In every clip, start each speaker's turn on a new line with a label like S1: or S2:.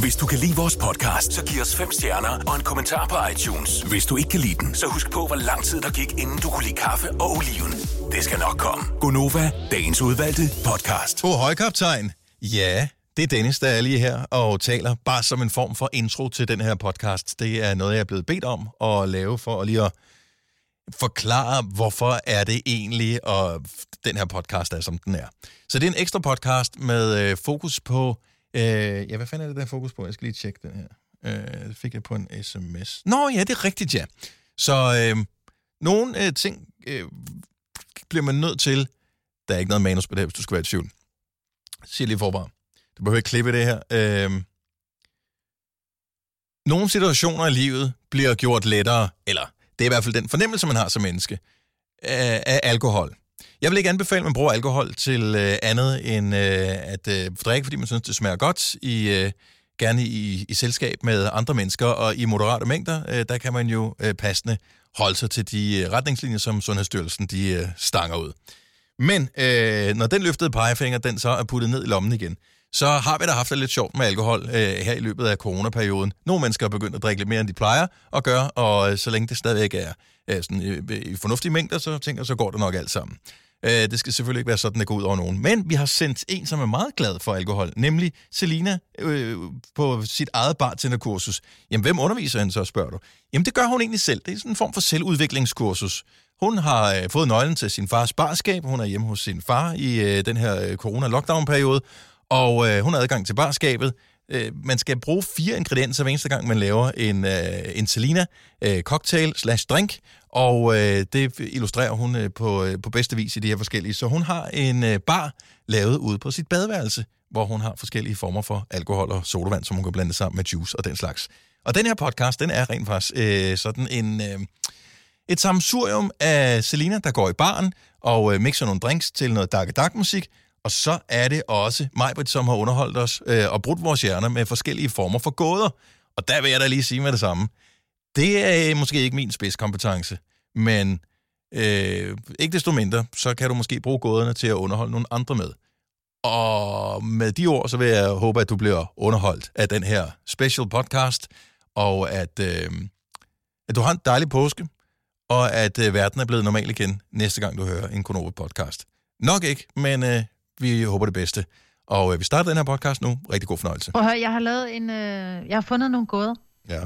S1: Hvis du kan lide vores podcast, så giv os fem stjerner og en kommentar på iTunes. Hvis du ikke kan lide den, så husk på, hvor lang tid der gik, inden du kunne lide kaffe og oliven. Det skal nok komme. Gonova, dagens udvalgte podcast.
S2: To højkaptajn. Ja, det er Dennis, der er lige her og taler bare som en form for intro til den her podcast. Det er noget, jeg er blevet bedt om at lave for at lige at forklare, hvorfor er det egentlig, og f- den her podcast er, som den er. Så det er en ekstra podcast med øh, fokus på... Øh, ja, hvad fanden er det, der er fokus på? Jeg skal lige tjekke den her. Øh, det fik jeg på en sms. Nå ja, det er rigtigt, ja. Så øh, nogle øh, ting øh, bliver man nødt til... Der er ikke noget manus på det her, hvis du skal være i tvivl. Jeg siger lige forbar. Du behøver ikke klippe det her. Øh, nogle situationer i livet bliver gjort lettere, eller det er i hvert fald den fornemmelse, man har som menneske, af, af alkohol. Jeg vil ikke anbefale, at man bruger alkohol til øh, andet end øh, at øh, drikke, fordi man synes, det smager godt, i, øh, gerne i, i selskab med andre mennesker, og i moderate mængder, øh, der kan man jo øh, passende holde sig til de øh, retningslinjer, som Sundhedsstyrelsen de, øh, stanger ud. Men øh, når den løftede pegefinger, den så er puttet ned i lommen igen, så har vi da haft det lidt sjovt med alkohol øh, her i løbet af coronaperioden. Nogle mennesker er begyndt at drikke lidt mere, end de plejer at gøre, og øh, så længe det stadigvæk er øh, sådan, øh, i fornuftige mængder, så tænker jeg, så går det nok alt sammen. Øh, det skal selvfølgelig ikke være sådan, at gå ud over nogen. Men vi har sendt en, som er meget glad for alkohol, nemlig Selina øh, på sit eget bartenderkursus. Jamen, hvem underviser hende så, spørger du? Jamen, det gør hun egentlig selv. Det er sådan en form for selvudviklingskursus. Hun har øh, fået nøglen til sin fars barskab. Hun er hjemme hos sin far i øh, den her øh, corona-lockdown-periode, og øh, hun har adgang til barskabet. Øh, man skal bruge fire ingredienser hver eneste gang, man laver en, øh, en Selina øh, cocktail slash drink, og øh, det illustrerer hun øh, på, øh, på bedste vis i de her forskellige. Så hun har en øh, bar lavet ude på sit badeværelse, hvor hun har forskellige former for alkohol og sodavand, som hun kan blande sammen med juice og den slags. Og den her podcast, den er rent faktisk øh, sådan en... Øh, et samsurium af Selina, der går i baren og øh, mixer nogle drinks til noget dark dark musik. Og så er det også Majbrit, som har underholdt os øh, og brudt vores hjerner med forskellige former for gåder. Og der vil jeg da lige sige med det samme. Det er øh, måske ikke min spidskompetence, men øh, ikke desto mindre, så kan du måske bruge gåderne til at underholde nogle andre med. Og med de ord, så vil jeg håbe, at du bliver underholdt af den her special podcast, og at, øh, at du har en dejlig påske, og at øh, verden er blevet normal igen næste gang, du hører en Konoba podcast. Nok ikke, men øh, vi håber det bedste. Og øh, vi starter den her podcast nu. Rigtig god fornøjelse.
S3: Prøv at høre, jeg har lavet en... Øh, jeg har fundet nogle gåder,
S2: Ja.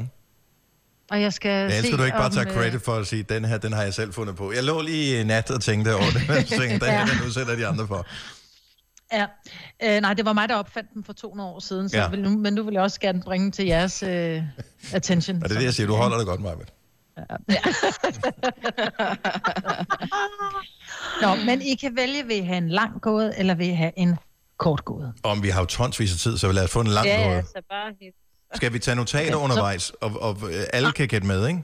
S3: og jeg skal
S2: Jeg elsker,
S3: se,
S2: du ikke bare
S3: om,
S2: tager
S3: øh,
S2: credit for at sige, den her, den har jeg selv fundet på. Jeg lå lige i nat og tænkte over det. Jeg tænkte, den her, den udsætter de andre for.
S3: Ja. Øh, nej, det var mig, der opfandt den for 200 år siden, så
S2: Ja.
S3: ja. vil nu, men nu vil jeg også gerne bringe den til jeres øh, attention.
S2: Og det er det, jeg siger. Du holder det godt, Marvind.
S3: Nå, men I kan vælge, vil I have en lang gåde, eller vil I have en kort gåde?
S2: Om vi har jo tonsvis af tid, så lad os få en lang
S4: Ja,
S2: ja,
S4: ja, så bare hit.
S2: Skal vi tage notater
S3: Okay, så-
S2: undervejs, og, og øh, alle kan gætte med, ikke?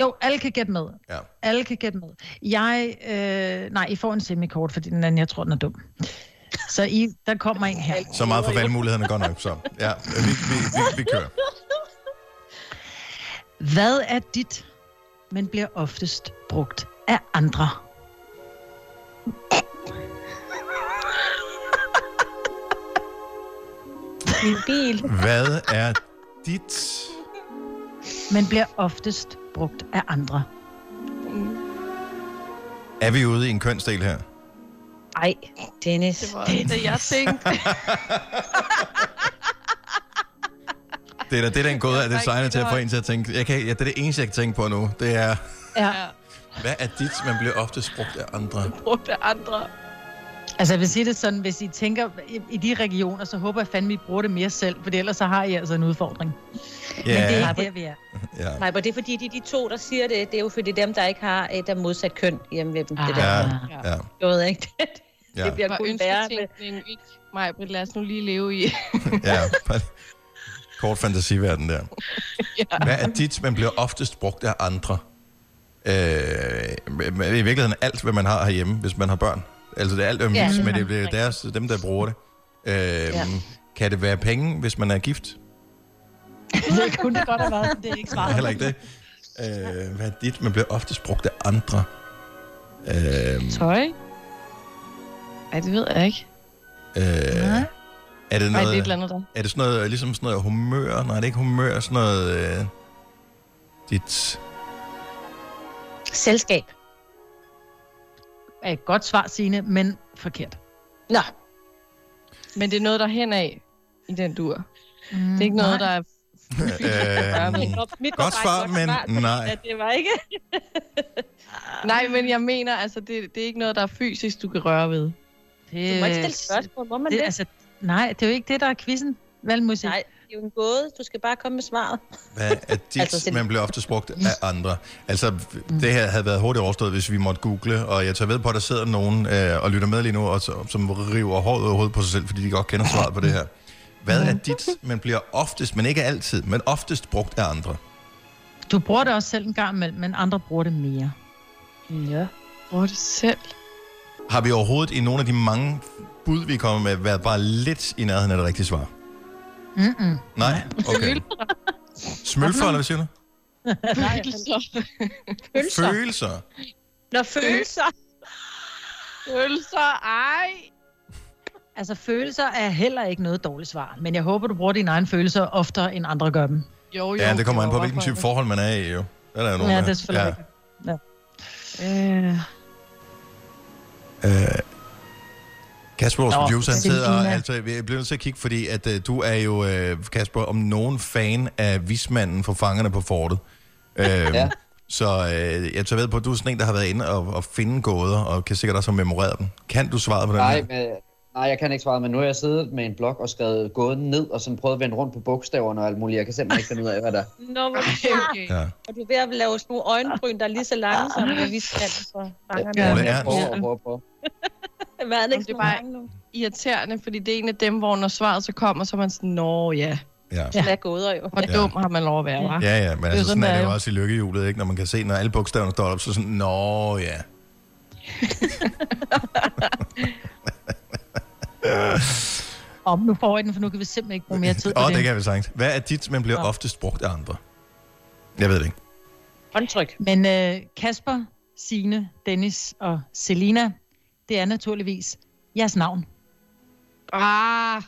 S3: Jo, alle kan gætte med.
S2: Ja.
S3: Alle kan gætte med. Jeg, øh, nej, I får en semikort, fordi den anden, jeg tror, den er dum. Så I, der kommer en her.
S2: Så meget for valgmulighederne godt nok. Så ja, vi, vi, vi, vi kører.
S3: Hvad er dit, men bliver oftest brugt af andre?
S4: Min bil.
S2: Hvad er dit...
S3: Men bliver oftest brugt af andre.
S2: Er vi ude i en kønsdel her?
S4: Ej, Dennis.
S5: var det, jeg tænkte.
S2: Det er da det, er da en gåde
S5: Jeg har
S2: er
S5: ikke
S2: designet til at få
S5: højt.
S2: en til at tænke. Jeg kan, ja, det er det eneste, jeg kan tænke på nu. Det er,
S3: Ja.
S5: Ja.
S2: hvad er dit, man bliver ofte brugt af andre?
S5: Brugt af andre.
S3: Altså jeg vil sige det sådan, hvis I tænker i, i de regioner, så håber jeg fandme, I bruger det mere selv, for ellers så har I altså en udfordring. Men det er
S2: Ja,
S3: ikke der, vi er.
S2: ja.
S4: Nej, men det er fordi, de, de to, der siger det, det er jo fordi dem, der ikke har et af modsat køn hjemme ved dem. Ah. Det der,
S2: Ja,
S5: Ja.
S2: ja,
S4: jeg ved ikke. Det, ja. det
S2: ja,
S4: bliver
S5: Var
S4: kun værre. med-
S5: ønsketænkning ikke mig, Britt, lad os nu lige leve i.
S2: ja. Kort fantasiverden der. Hvad er dit, man bliver oftest brugt af andre? Øh, men I virkeligheden alt, hvad man har herhjemme, hvis man har børn. Altså det er alt, hvad man
S4: Ja,
S2: ja,
S4: det
S2: men
S4: har
S2: det bliver
S4: man.
S2: deres, dem, der bruger det. Øh, ja. Kan det være penge, hvis man er gift?
S3: Det kunne det godt have været, men det er
S2: Nej,
S3: ikke svaret.
S2: heller ikke det. Øh, hvad er dit? Man bliver oftest brugt af andre. Øh,
S5: Tøj? Ej, det ved jeg ikke.
S2: øh, Er det
S6: Nej, det er et
S2: noget,
S6: eller andet der.
S2: er det sådan noget, ligesom sådan noget humør? Nej, det er ikke humør, sådan noget... Øh, dit...
S4: Selskab.
S3: Er et godt svar, Signe, men forkert.
S4: Nå,
S2: Mm.
S6: Men det er noget, der hen af i den dur. Mm, det er ikke noget,
S3: nej.
S6: der er...
S2: Øh,
S4: mit, var- mit var
S2: godt
S4: bare et
S2: svar, men
S4: fordi
S2: nej.
S4: at det var ikke.
S2: Øhm.
S6: Nej, men jeg mener, altså, det, det er ikke noget, der er fysisk, du kan røre ved.
S4: Du
S3: Det,
S4: må ikke stille spørgsmål, må man
S3: det,
S4: det?
S3: altså, nej, det er jo ikke det, der er quizzen. Valgmusik.
S4: Nej, det er jo en gåde. Du skal bare komme med svaret.
S2: Hvad er dit?
S4: Altså,
S2: altså,
S4: det-
S2: man bliver ofte brugt af andre. Altså, det her havde været hurtigt overstået, hvis vi måtte google, og jeg tager ved på, at der sidder nogen øh, og lytter med lige nu, og så, som river håret ud af hovedet på sig selv, fordi de godt kender svaret på det her. Hvad er dit? Man bliver oftest, men ikke altid, men oftest brugt af andre.
S3: Du bruger det også selv en gang imellem, men andre bruger det mere.
S4: Ja.
S6: Bruger det selv.
S2: Har vi overhovedet i nogle af de mange bud, vi kommer med, været bare lidt i nærheden af det rigtige svar?
S3: Mm-mm.
S2: Nej? Okay. Smølfer, eller hvad siger du?
S6: Følelser.
S4: Følelser.
S2: Følelser.
S4: Nå, følelser.
S6: Følelser, ej.
S3: Altså, følelser er heller ikke noget dårligt svar, men jeg håber, du bruger dine egne følelser oftere, end andre gør dem.
S6: Jo, jo.
S2: Ja, det kommer an på,
S6: var
S2: hvilken type
S6: overfor.
S2: forhold man er i, jo. Der er der nogen
S3: Ja,
S2: af.
S3: det er selvfølgelig rigtigt.
S6: Øh,
S2: Øh, Kasper, vores
S3: Nå,
S2: producer, han
S3: Selina.
S2: sidder og... Altså, jeg bliver nødt til at kigge, fordi at, øh, du er jo, øh, Kasper, om nogen fan af vismanden for fangerne på fortet. Øh, ja. Så øh, jeg tager ved på, at du er sådan en, der har været inde og, og finde gåder, og kan sikkert også have memoreret dem. Kan du svare på den
S7: Nej,
S2: her?
S7: men, nej, jeg kan ikke svare, men nu har jeg siddet med en blok og skrevet gåden ned, og sådan prøvet at vende rundt på bogstaverne og alt muligt. Jeg kan simpelthen ikke finde ud af, hvad der er.
S4: Nå, hvor
S6: okay.
S2: Ja.
S4: Og du er ved at lave sådan nogle øjenbryn, der er lige så lange, som vi skal for fangerne.
S2: Ole
S7: Jeg
S2: Ernst.
S7: prøver og prøver og prøver.
S4: Hvad er det ikke
S6: Det er
S4: sådan
S6: bare-
S4: mange nu?
S6: Irriterende, fordi det er en af dem, hvor når svaret så kommer, så er man sådan, nå ja,
S2: Ja.
S4: Ja. Hvad er gåder jo?
S6: hvor
S2: Ja.
S6: dum har man lov at være, hva'?
S2: Ja, ja, men altså,
S6: sådan,
S2: sådan er
S6: der
S2: det
S6: er
S2: jo
S6: jo.
S2: også i lykkehjulet, ikke? Når man kan se, når alle bogstaverne står op, så sådan, nå ja.
S3: Om nu får jeg den, for nu kan vi simpelthen ikke bruge mere tid på
S2: Åh,
S3: det.
S2: det kan vi sagt. Hvad er dit, men bliver
S3: Nå.
S2: oftest brugt af andre? Jeg ved det ikke.
S4: Håndtryk.
S3: Men øh, Kasper, Sine, Dennis og Selina, det er naturligvis jeres navn.
S6: Ah,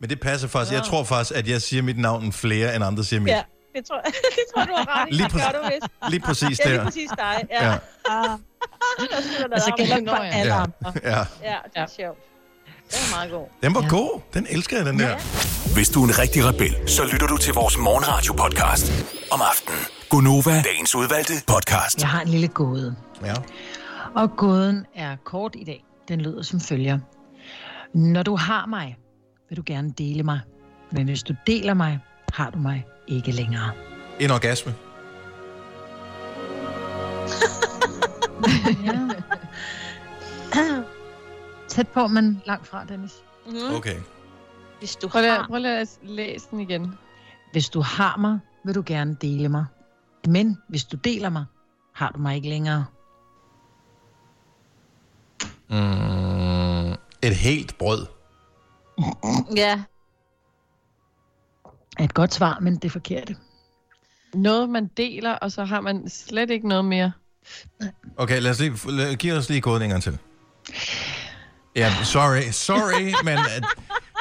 S2: Men det passer faktisk. Jeg tror faktisk, at jeg siger mit navn flere, end andre siger mit.
S4: Ja, det tror, det tror jeg, du har ret i.
S2: Lige
S4: Det gør
S2: præcis.
S4: du vist.
S2: Lige præcis
S4: Ja,
S2: der.
S4: lige præcis dig. Ja.
S2: Ja.
S4: ja. Der skulle der
S3: Altså gælder
S4: være ramme.
S3: det for
S6: Nå, ja.
S3: alle
S2: Ja.
S3: andre.
S2: ja.
S4: Ja, det er sjovt. Det er meget god.
S2: Den var ja. god. Den elsker jeg, den der.
S1: Hvis du er en rigtig rebel, så lytter du til vores morgenradio-podcast om aftenen. Gunova, dagens udvalgte podcast.
S3: Jeg har en lille gåde.
S2: Ja.
S3: Og gåden er kort i dag. Den lyder som følger. Når du har mig, vil du gerne dele mig. Men hvis du deler mig, har du mig ikke længere.
S2: En orgasme.
S3: Tæt på, men langt fra, Dennis.
S4: Mm.
S2: Okay.
S4: Hvis du
S6: prøv lige,
S4: har...
S6: prøv lige at læse den igen.
S3: Hvis du har mig, vil du gerne dele mig. Men hvis du deler mig, har du mig ikke længere.
S2: Mm. Et helt brød.
S4: Ja.
S3: Er et godt svar, men det er forkert.
S6: Noget, man deler, og så har man slet ikke noget mere.
S2: Okay, lad os lige, lad, giv os lige koden en gang til. Ja, sorry, sorry, men at,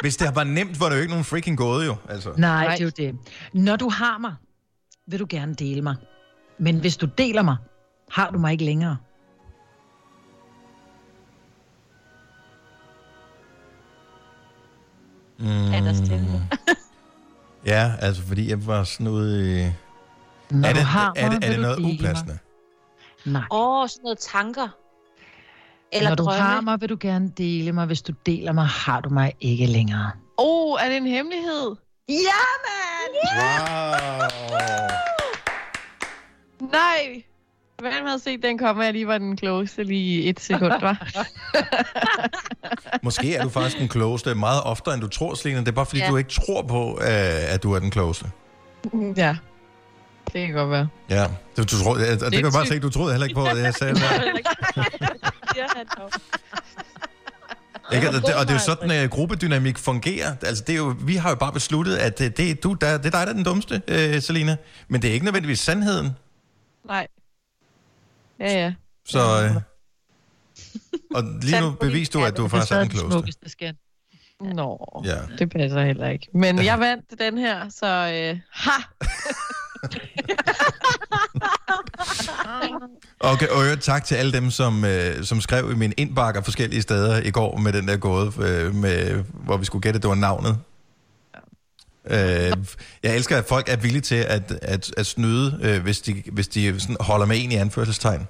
S2: hvis det var nemt, var det jo ikke nogen freaking gåde jo. Altså.
S3: Nej,
S6: Nej.
S3: det er jo det. Når du har mig, vil du gerne dele mig. Men hvis du deler mig, har du mig ikke længere.
S2: Mm.
S4: Er der stille?
S2: Ja, altså fordi jeg var sådan ude i...
S3: Når
S2: er det,
S3: du har mig,
S2: er det, er
S3: vil
S2: det
S3: du
S2: noget
S3: dele mig.
S2: upassende?
S3: Nej.
S4: Åh, oh, sådan noget tanker. Eller
S3: Eller Når du
S4: drømme.
S3: har mig, vil du gerne dele mig. Hvis du deler mig, har du mig ikke længere.
S6: Åh, oh, er det en hemmelighed?
S4: Ja, mand!
S2: Wow.
S6: Nej! Hvem havde set den komme, at jeg lige var den klogeste lige i et sekund, var?
S2: Måske er du faktisk den klogeste meget oftere, end du tror, Selina. Det er bare fordi, ja.
S4: Ja.
S2: du ikke tror på, øh, at du er den klogeste.
S6: ja. Det kan godt være.
S2: Ja, du, du tror, det, det kan jeg bare se, du troede heller ikke på, at jeg sagde det.
S4: Siger han dog.
S2: Ikke? Og, det, og det er jo sådan, at gruppedynamik fungerer. Altså, det er jo, vi har jo bare besluttet, at øh, det, er du, der, det er dig, der er den dummeste, øh, Selina. Men det er ikke nødvendigvis sandheden.
S6: Nej. Ja, ja.
S2: Så, øh, og lige nu beviste du, at du faktisk er den klogeste.
S3: klogeste.
S5: Nå,
S2: Ja.
S5: det passer heller ikke. Men jeg vandt den her, så øh, ha!
S2: Okay, og i øvrigt tak til alle dem, som, øh, som skrev i min indbakker forskellige steder i går med den der gåde, øh, med, hvor vi skulle gætte, det var navnet. Øh, jeg elsker, at folk er villige til at, at, at snyde, øh, hvis de, hvis de sådan holder med en i anførselstegn.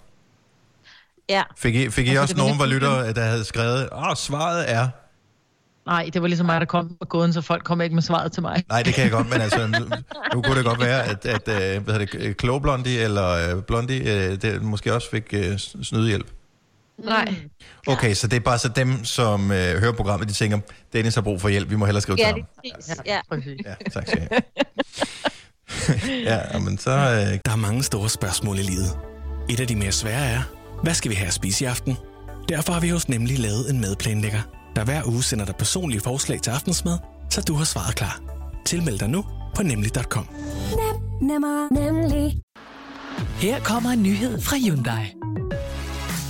S4: Ja.
S2: Fik I, fik I
S3: Altså,
S2: også
S3: det var
S2: nogen,
S3: lidt
S2: hvor lytter, der havde skrevet, åh, svaret er...
S3: Nej, det var ligesom mig, der kom på gåden, så folk kom ikke med svaret til mig.
S2: Nej, det kan jeg godt, men altså, nu, nu kunne det godt være, at, at øh, hvad hedder det, Kloge Blondie eller øh, Blondie øh, det, måske også fik øh, snydehjælp.
S5: Nej.
S2: Okay, så det er bare så dem, som øh, hører programmet, de tænker, Dennis har brug for hjælp, vi må hellere skrive
S4: Ja,
S2: til
S4: det
S2: ham.
S4: er præcis. Ja.
S3: Præcis.
S2: Ja, tak skal I have. ja, men så... Øh,
S1: Der er mange store spørgsmål i livet. Et af de mere svære er, hvad skal vi have at spise i aften? Derfor har vi hos Nemlig lavet en madplanlægger, der hver uge sender dig personlige forslag til aftensmad, så du har svaret klar. Tilmeld dig nu på nemlig.com.
S8: Nemmer, nemlig.
S9: Her kommer en nyhed fra Hyundai.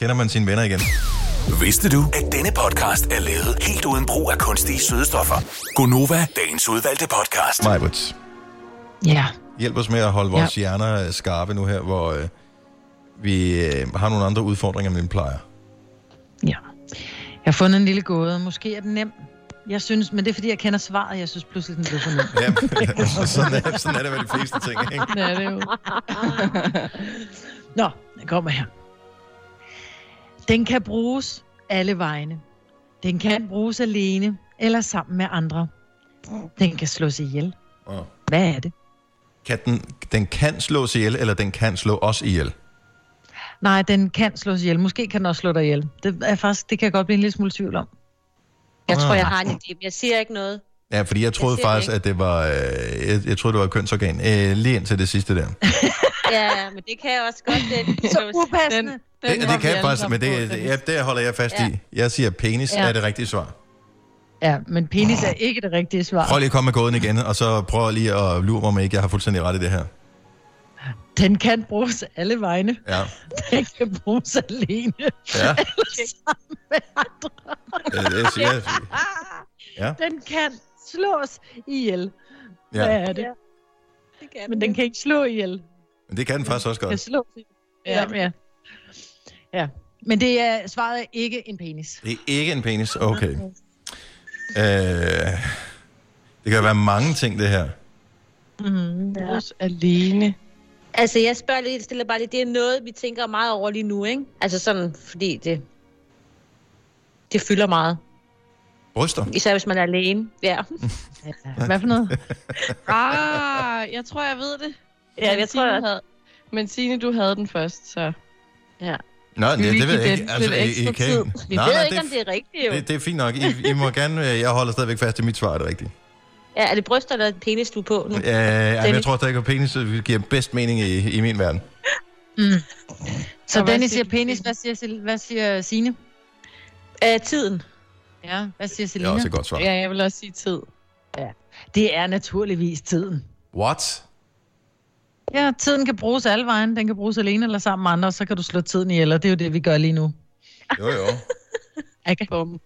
S2: kender man sine venner igen?
S1: Vidste du, at denne podcast er lavet helt uden brug af kunstige sødestoffer? Gonova, dagens udvalgte podcast.
S2: Majbrits,
S3: Ja,
S2: hjælp os med at holde vores ja. hjerner øh, skarpe nu her, hvor øh, vi øh, har nogle andre udfordringer, end vi plejer.
S3: ja. Jeg har fundet en lille gåde. Måske er den nem. Jeg synes, men det er fordi, jeg kender svaret. Jeg synes pludselig, den blev for nem.
S2: Ja, sådan, er, sådan er det med de fleste ting, ikke?
S5: Det er det jo.
S3: Nå, den kommer her. Den kan bruges alle vegne. Den kan bruges alene eller sammen med andre. Den kan slås ihjel.
S2: Åh.
S3: Hvad er det?
S2: Kan den, den kan slås ihjel, eller den kan slå os ihjel?
S3: Nej, den kan slås ihjel. Måske kan den også slå dig ihjel. Det, er faktisk, det kan jeg godt blive en lille smule tvivl om.
S4: Jeg tror,
S2: Ah.
S4: jeg har en idé, men jeg siger ikke noget.
S2: Ja, fordi jeg troede
S4: Jeg ser det
S2: faktisk,
S4: ikke.
S2: at det var, øh, jeg, jeg troede, det var et kønsorgan. Øh, lige indtil det sidste der.
S4: Ja, men det kan jeg også godt. Det,
S3: Så
S5: Den, den
S3: upassende.
S2: Det,
S5: var
S2: det
S5: vi
S2: kan jeg
S5: alle
S2: faktisk,
S5: sammen
S2: men det,
S5: på, Dennis.
S2: ja, det holder jeg fast ja.
S4: Ja.
S2: i. Jeg siger, penis ja.
S3: Ja.
S2: er det rigtige svar.
S3: Ja, men penis er ikke det rigtige svar.
S2: Prøv lige at komme med gåden igen, og så prøv lige at lure mig, om ikke jeg har fuldstændig ret i det her.
S3: Den kan bruges alle vegne.
S2: Ja.
S3: Den kan bruges alene
S2: ja.
S3: eller sammen med andre.
S2: Øh, jeg siger,
S3: Den kan slås ihjel. Hvad
S2: ja.
S3: er det?
S4: det kan
S3: Men den kan ikke slå ihjel.
S2: Men det kan den faktisk også
S3: Den kan
S2: godt.
S3: slå ihjel. Ja, ja. ja. Men det er svaret er ikke en penis.
S2: Det er ikke en penis. Okay. Øh, det kan være mange ting, det her.
S5: Bruges alene.
S4: Altså, jeg spørger lidt, stiller bare lidt. Det er noget, vi tænker meget over lige nu, ikke? Altså sådan, fordi det, det fylder meget.
S2: Bryster.
S4: Især hvis man er alene. Ja,
S3: Hvad for noget?
S5: Ah, jeg tror, jeg ved det.
S4: ja
S5: Men
S4: jeg tror,
S5: Signe
S4: jeg...
S5: havde... Men Signe, du havde den først, så...
S2: Nå,
S5: Skal
S2: det,
S5: vi
S2: det
S5: give
S2: ved jeg
S5: den
S2: ikke. Altså,
S5: lidt
S2: I, I
S5: ekstra
S2: kan...
S5: tid?
S4: Vi
S2: Nej,
S4: ved
S2: nej,
S4: ikke, om det er rigtigt, jo.
S2: det, det er fint nok. I, I må gerne... øh, Jeg holder stadigvæk fast i mit svar, er det rigtigt.
S4: Ja, er det bryster eller penis, du er på nu?
S2: Øh, jamen, jeg
S4: Dennis.
S2: tror stadig, at penis øh, giver bedst mening i, i min verden.
S3: Så
S5: Og hvad
S3: Dennis
S5: siger
S3: siger
S5: du,
S3: penis.
S5: Signe?
S3: Hvad siger, Sil- hvad siger Signe?
S4: Æ, tiden.
S3: Ja, hvad siger
S2: Det er
S3: Selina?
S2: også et godt svar.
S5: Ja, jeg vil også sige tid.
S3: Det er naturligvis tiden.
S2: What?
S3: Ja, tiden kan bruges alle vejen. Den kan bruges alene eller sammen med andre, og så kan du slå tiden ihjel, og det er jo det, vi gør lige nu.
S2: Jo, jo.
S3: Okay.
S5: Bum.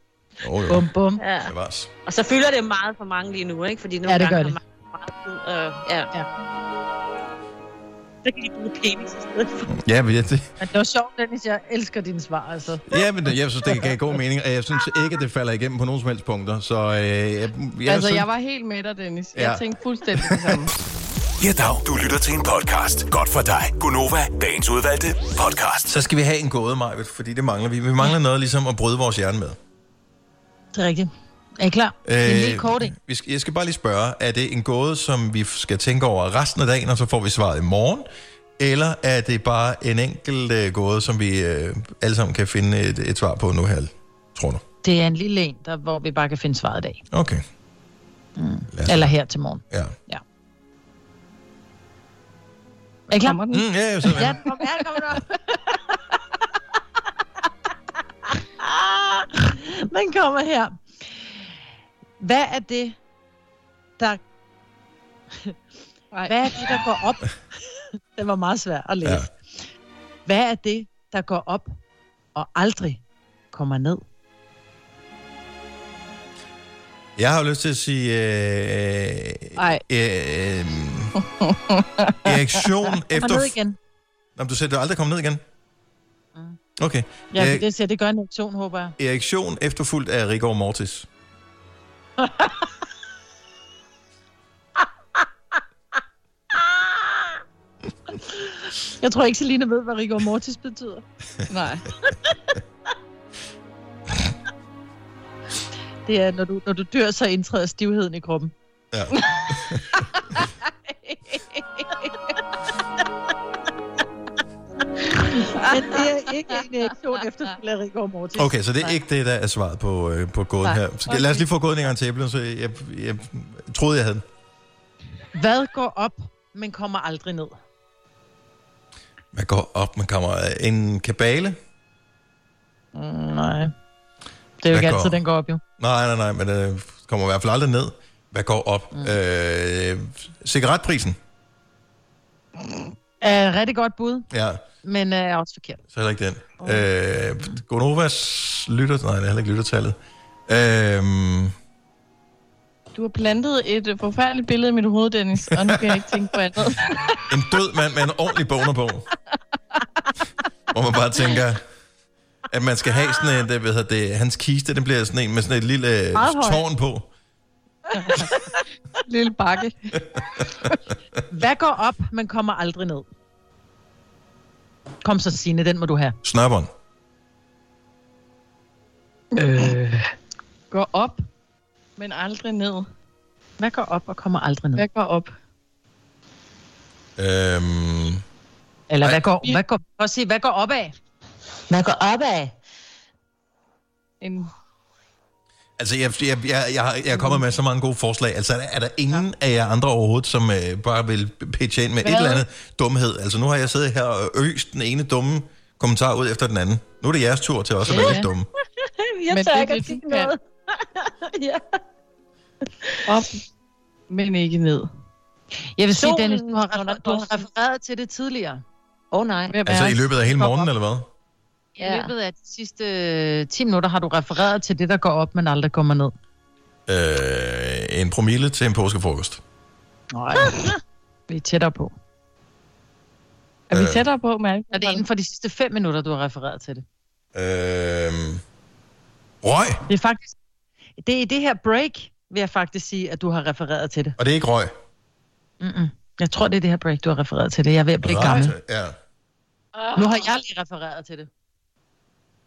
S2: Jo, jo.
S3: Bum, bum.
S4: Ja.
S2: Bevares.
S4: Og så fylder det meget for mange lige nu, ikke? Fordi nogle
S3: Ja, det gør
S4: gange har man meget tid. Øh, ja.
S3: Ja.
S4: Så kan de bruge penis i stedet for.
S2: Ja, men jeg, det,
S3: Men det var sjovt, Dennis. Jeg elsker dine svar, altså.
S2: ja, men det- jeg synes, det gav god mening, og jeg synes ikke, at det falder igennem på nogen som helst punkter. Så øh, jeg, jeg,
S5: altså,
S2: synes-
S5: jeg var helt med dig, Dennis.
S2: Ja.
S5: Jeg tænkte fuldstændig det samme.
S1: Ja, dag. Du lytter til en podcast. Godt for dig. Gunova, dagens udvalgte podcast.
S2: Så skal vi have en gåde, Majved, fordi det mangler vi. Vi mangler noget ligesom at bryde vores hjerne med.
S3: Det er rigtigt. Er I klar? Øh, det er en lille kort, ikke?
S2: vi skal, jeg skal bare lige spørge, er det en gåde, som vi skal tænke over resten af dagen, og så får vi svaret i morgen? Eller er det bare en enkelt øh, gåde, som vi øh, alle sammen kan finde et, et svar på nu her, tror du?
S3: Det er en lille en, der, hvor vi bare kan finde svaret i dag.
S2: Okay.
S3: Ja. Eller her til morgen.
S2: Ja.
S3: Er I klar?
S5: Kommer den?
S2: Mm, ja, jeg sidder
S3: Ja,
S2: med.
S3: den kommer, ja, den kommer nu. den kommer her. Hvad er det, der...
S5: Nej.
S3: Hvad er det, der går op? det var meget svært at læse.
S2: Ja.
S3: Ja. Hvad er det, der går op og aldrig kommer ned?
S2: Jeg har jo lyst til at sige... Øh,
S5: Ej.
S2: øh, erektion
S3: Kommer
S2: efter...
S3: ned igen. Mm.
S2: Nå, men du sagde, du aldrig kom ned igen? Okay.
S3: Ja,
S2: Øh,
S3: øh... det, siger, det gør en aktion, håber jeg.
S2: Erektion efterfulgt af rigor mortis.
S3: Jeg tror ikke, Selina ved, hvad rigor mortis betyder.
S5: Nej.
S3: Det er, når du, når du dør, så indtræder stivheden i kroppen.
S2: Ja.
S3: Men det er ikke en erektion efter rigor mortis.
S2: Okay, så det er ikke det, der er svaret på, øh, på gåden
S3: Nej.
S2: her. Så, lad os lige få gåden en gang til, Evelyn, så jeg, jeg troede, jeg havde den.
S3: Hvad går op, men kommer aldrig ned?
S2: Man går op, man kommer øh, en kabale.
S3: Nej. Det er jo
S2: Hvad
S3: ikke
S2: går-
S3: altid, den går op, jo.
S2: Nej, nej, nej, men øh, kommer i hvert fald aldrig ned. Hvad går op? Mm. Øh, cigaretprisen.
S3: Er rigtig godt bud,
S2: Ja,
S3: men er også forkert.
S2: så heller ikke den. Øh, Gonovas lytter... Nej, det er heller ikke lyttertallet. Øh,
S5: Du har plantet et øh, forfærdeligt billede i mit hoved, Dennis, og nu kan jeg ikke tænke på andet.
S2: en død mand med en ordentlig boner på. Hvor man bare tænker, at man skal have sådan en, det, hvad hedder det, hans kiste, den bliver sådan en med sådan et lille øh,
S3: Meget høj.
S2: tårn på.
S5: Lille bakke.
S3: Hvad går op, men kommer aldrig ned? Kom så, Signe, den må du have.
S2: Snørbånd.
S5: Går op, men aldrig ned.
S3: Hvad går op og kommer aldrig ned?
S5: Hvad går op?
S2: Øhm,
S3: Eller hvad
S2: Nej.
S3: går, hvad går, prøv at se, hvad går opad?
S4: Man går opad.
S5: En
S2: altså, jeg, jeg, jeg, jeg, har- jeg er kommet med så mange gode forslag. Altså, er der- er der ingen af jer andre overhovedet, som øh, bare vil pitche ind med Hvad? et
S5: Hvad?
S2: eller andet dumhed? Altså, nu har jeg siddet her og øst den ene dumme kommentar ud efter den anden. Nu er det jeres tur til også at være
S5: Ja.
S2: lidt dumme.
S4: Jeg
S5: Men
S4: tør
S5: det er
S4: ikke at
S5: det,
S4: sige
S5: du kan.
S4: noget. ja.
S5: op, men ikke ned.
S3: Jeg vil sige,
S4: Solen
S3: Dennis, du har,
S4: under
S3: refer- du har
S4: posten.
S3: refereret til det tidligere.
S4: Åh oh, nej.
S5: Hvem
S2: Altså,
S5: er
S2: i løbet af hele morgenen, eller hvad?
S3: Ja.
S4: Ja.
S3: I løbet af de sidste øh, 10 minutter har du refereret til det, der går op, men aldrig kommer ned.
S2: Øh, en promille til en påskefrokost.
S3: Nej. Vi er tættere på.
S5: Er vi
S2: Øh.
S5: tættere på med
S3: Er det inden for de sidste 5 minutter, du har refereret til det?
S2: Øh, røg!
S3: Det er faktisk... Det er i det her break, vil jeg faktisk sige, at du har refereret til det.
S2: Og det er ikke røg.
S3: Mm-mm. Jeg tror, det er det her break, du har refereret til det. Jeg er ved at blive gammel.
S2: Altså, Ja.
S3: Nu har jeg lige refereret til det.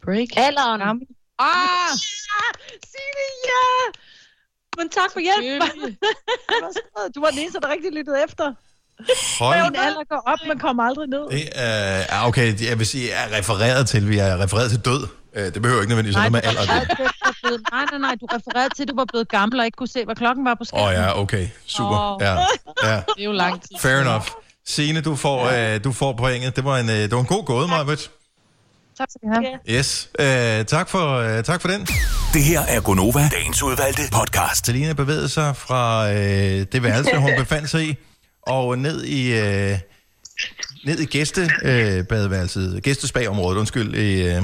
S5: break?
S4: Alderen.
S5: Gammel.
S4: Ah! Sig det, ja! Men tak for hjælp.
S3: Du var den eneste, der rigtig lyttede efter.
S2: Hold
S3: alder går op, men kommer aldrig ned.
S2: Det er, ah, okay, jeg vil sige, jeg er refereret til, vi er refereret til død. Øh, Det behøver ikke nødvendigvis
S3: Nej,
S2: noget
S3: du
S2: med
S3: var
S2: alder. at
S3: refereret
S2: gøre.
S3: til, at du var blevet, nej, nej, nej, du refererede til, at du var blevet gammel og ikke kunne se, hvad klokken var på
S2: Åh
S3: skærmen.
S2: oh, ja, okay, super.
S5: Åh.
S2: Ja, ja.
S5: Det er jo lang tid.
S2: Fair enough. Signe, du får, øh, du får pointet. Det var en, øh, det var en god gåde, Marvitt.
S3: Tak skal I have.
S2: Yes. Øh, tak, for, øh, tak for den.
S1: Det her er Gunova, dagens udvalgte podcast.
S2: Selina bevægede sig fra øh, det værelse, hun befandt sig i, og ned i, øh, ned i gæste, øh, badeværelset, gæstespagområdet, undskyld, i øh,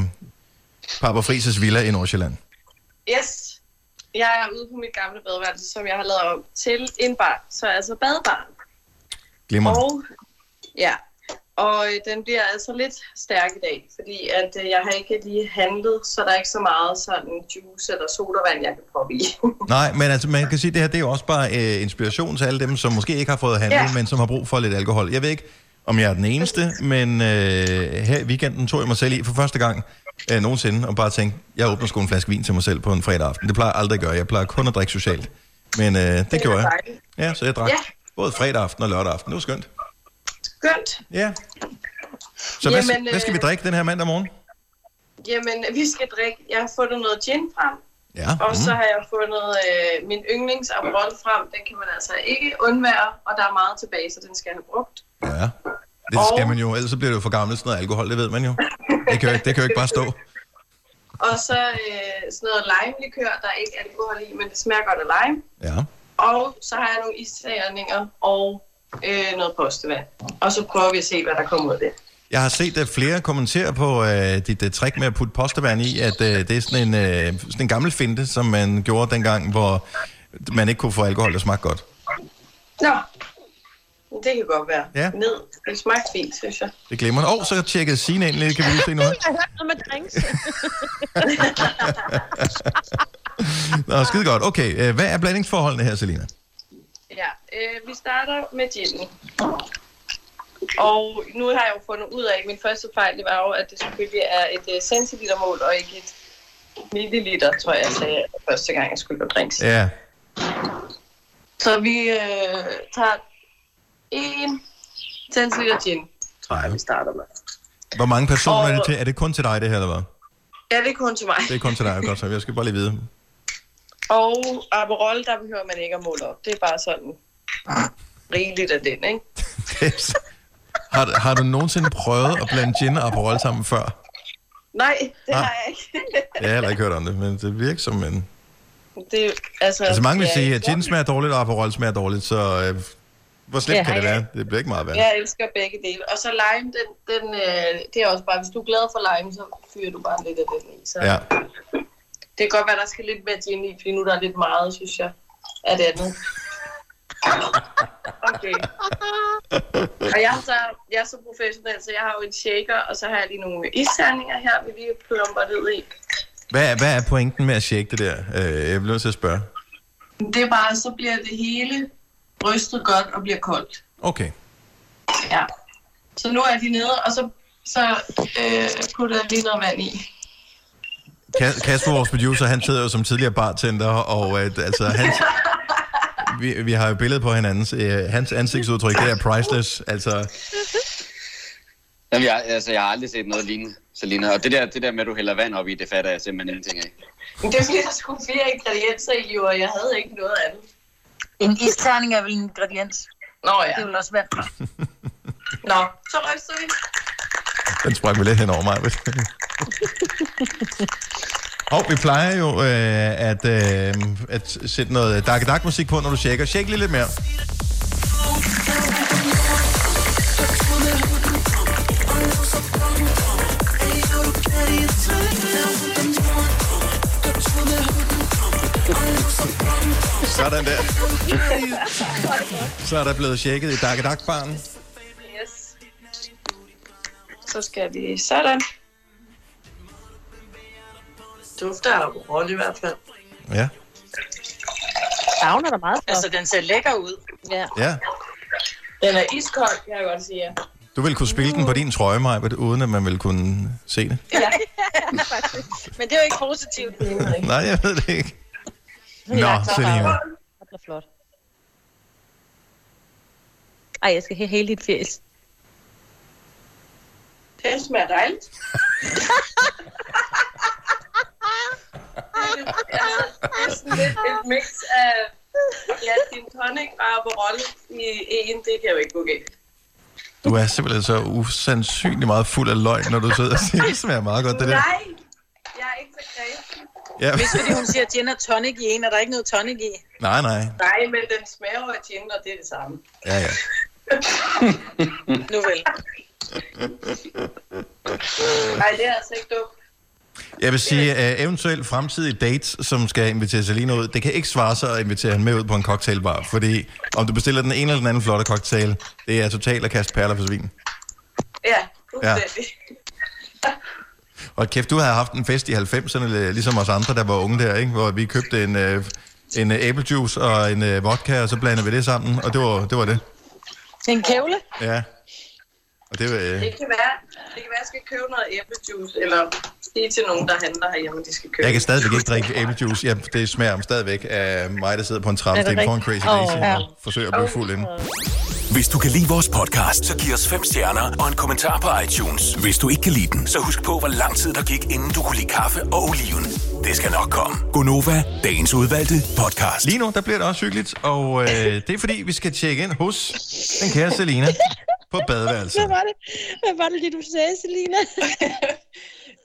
S2: Papa Frises Villa i Nordsjælland.
S6: Yes. Jeg er ude på mit gamle badeværelse, som jeg har lavet om til en bar. Så altså badebarn.
S2: Glimrende.
S6: Og ja, Og øh, den bliver altså lidt stærk i dag, fordi at øh, jeg har ikke lige handlet, så der er ikke så meget sådan juice eller sodavand, jeg kan proppe i.
S2: Nej, men altså, man kan sige, at det her det er jo også bare øh, inspiration til alle dem, som måske ikke har fået handlet, ja.
S6: Ja.
S2: men som har brug for lidt alkohol. Jeg ved ikke, om jeg er den eneste, men øh, her i weekenden tog jeg mig selv i for første gang øh, nogensinde, og bare tænkte, jeg åbner sgu en flaske vin til mig selv på en fredag aften. Det plejer jeg aldrig at gøre. Jeg plejer kun at drikke socialt. Men øh, det, det gjorde jeg.
S6: dejligt.
S2: Ja, så jeg drak
S6: Ja.
S2: ja. både fredag aften og lørdag aften. Det var skønt.
S6: Skønt.
S2: Ja. Så hvad,
S6: Jamen,
S2: Jamen, hvad skal vi
S6: øh,
S2: drikke den her mandag morgen?
S6: Jamen, vi skal drikke. Jeg har fundet noget gin frem,
S2: Ja. mm,
S6: og så har jeg fundet øh, min yndlings Aperol frem. Den kan man altså ikke undvære, og der er meget tilbage, så den skal jeg have brugt.
S2: Ja, det skal man jo, ellers så bliver det jo for gammelt sådan noget alkohol, det ved man jo. Det kan jo, ikke- det kan jo ikke bare stå.
S6: Og så øh, sådan noget lime-likør, der er ikke alkohol i, men det smager godt af lime.
S2: Ja.
S6: Og så har jeg nogle isterninger og øh, noget postevand. Og så prøver vi at se, hvad der kommer ud af det.
S2: Jeg har set, at flere kommenterer på øh, dit uh, trick med at putte postevand i, at øh, det er sådan en, øh, sådan en gammel finte, som man gjorde dengang, hvor man ikke kunne få alkohol, der smagte godt.
S6: Nå, det kan godt være.
S2: Ja.
S6: Ned. Det smagte fint, synes jeg.
S2: Det glemmer man. Åh, oh, så tjekkede Signe ind lidt, kan vi lige se noget.
S4: Jeg har hørt noget med drinks.
S2: Nå, skide godt. Okay, øh, hvad er blandingsforholdene her, Selina?
S6: ja, øh, vi starter med ginen. Og nu har jeg jo fundet ud af, at min første fejl det var jo, at det selvfølgelig er et øh, centilitermål og ikke et milliliter, tror jeg, jeg sagde første gang, jeg skulle lave drinks.
S2: Ja,
S6: Så vi øh, tager en centiliter gin.
S2: tror jeg, vi
S6: starter med.
S2: Hvor mange personer er det til? Er det kun til dig, det her, eller hvad?
S6: Ja, det er kun til mig.
S2: Det er kun til dig, godt så. Jeg skal bare lige vide.
S6: Og Aperol, der behøver man ikke at måle op. Det er bare sådan rigeligt af den, ikke?
S2: Yes. Har, du- har du nogensinde prøvet at blande gin og Aperol sammen før?
S6: Nej, det
S2: Ah.
S6: har jeg ikke.
S2: Jeg har heller ikke hørt om det, men det virker som en...
S6: det, er- altså,
S2: Altså mange vil
S6: ja,
S2: sige, at gin smager dårligt, og Aperol smager dårligt, så øh, hvor slemt
S6: Ja,
S2: kan det
S6: ja.
S2: være? Det bliver ikke meget værd.
S6: Jeg elsker begge dele. Og så lime, den, den, øh, det er også bare, hvis du er glad for lime, så fyrer du bare lidt af den i. Så
S2: Ja.
S6: Det kan godt være, der skal lidt mere gin i, fordi nu der er lidt meget, synes jeg, af det andet. Okay. Og jeg er, så, jeg er så professionel, så jeg har jo en shaker, og så har jeg lige nogle isterninger her, vi lige plumper ned i.
S2: Hvad, er- hvad er pointen med at shake det der? Øh, jeg bliver nødt til at spørge.
S6: Det er bare, så bliver det hele rystet godt og bliver koldt.
S2: Okay.
S6: Ja. Så nu er de nede, og så, så øh, putter jeg lige noget vand i.
S2: Ka- Kasper, vores producer, han sidder jo som tidligere bartender, og øh, altså, hans, vi, vi har jo billede på hinandens. Øh, hans ansigtsudtryk, det er priceless. Altså,
S10: Jamen, jeg, altså, jeg har aldrig set noget lignende, Selina. Og det der, det der med, at du hælder vand op i, det fatter jeg simpelthen ingenting af.
S6: Men det er fordi, der skulle fire ingredienser i, og jeg havde ikke noget andet.
S3: En isterning er vel en ingrediens.
S6: Nå ja.
S3: Det vil også være.
S6: Nå, så ryster vi.
S2: Den sprang vi lidt hen over mig. Og vi plejer jo øh, at, øh, at sætte noget dark dark musik på, når du tjekker. Tjek lige lidt mere. Sådan der. Så er der blevet tjekket i dark dark barn.
S6: Yes. Så skal vi sådan. Dufter af Aperol i hvert fald.
S2: Ja.
S6: Savner der meget for. Altså, den ser lækker ud. Ja.
S2: Ja.
S6: Den er iskold, kan jeg godt sige. Ja.
S2: Du ville kunne spille den på din trøje, Maja, uden at man ville kunne se det.
S4: ja. Men det er jo ikke positivt.
S2: Nej, jeg ved det ikke. Nå,
S4: Ja, så-
S2: Selina.
S4: Det bliver flot. Ej, jeg skal have hele dit fjæs.
S6: Den smager dejligt. det er altså, det er sådan lidt et mix af ja, din tonic og Aperol i en. Det kan jo ikke gå galt.
S2: Du er simpelthen så usandsynlig meget fuld af løgn, når du sidder og siger, det smager meget godt, det der.
S6: Nej, jeg er ikke så kræsen.
S2: Ja.
S4: Hvis fordi hun siger gin og tonic i en, og der er ikke noget tonic i.
S2: Nej, nej.
S6: Nej, men den smager jo af gin, og det er det samme.
S2: Ja, ja.
S6: nu vel. Nej, det er altså ikke dumt.
S2: Jeg vil sige, at eventuelt fremtidige dates, som skal invitere Selina ud, det kan ikke svare sig at invitere hende med ud på en cocktailbar, fordi om du bestiller den ene eller den anden flotte cocktail, det er totalt at kaste perler for svin.
S6: Ja, fuldstændig.
S2: Og kæft, du havde haft en fest i 90'erne, ligesom os andre, der var unge der, ikke? hvor vi købte en, øh, en øh, æblejuice og en øh, vodka, og så blandede vi det sammen, og det var det. Var det.
S6: Ja. En kævle?
S2: Ja. Og det var... Øh,
S6: Det kan være, det kan være, at jeg skal købe noget æblejuice, eller sige til nogen, der handler herhjemme, at de skal købe.
S2: jeg kan stadigvæk ikke drikke æblejuice. Ja, det smager om stadigvæk af mig, der sidder på en trappesten for en Crazy Daisy oh, ja. og forsøger at blive fuld inden.
S1: Hvis du kan lide vores podcast, så giv os fem stjerner og en kommentar på iTunes. Hvis du ikke kan lide den, så husk på, hvor lang tid der gik, inden du kunne lide kaffe og oliven. Det skal nok komme.
S2: Gonova, dagens udvalgte podcast. Lige nu, der bliver det også hyggeligt, og øh, det er fordi, vi skal tjekke ind hos den kære Selina på badeværelset.
S4: Hvad var det, Hvad var det lige, du sagde, Selina?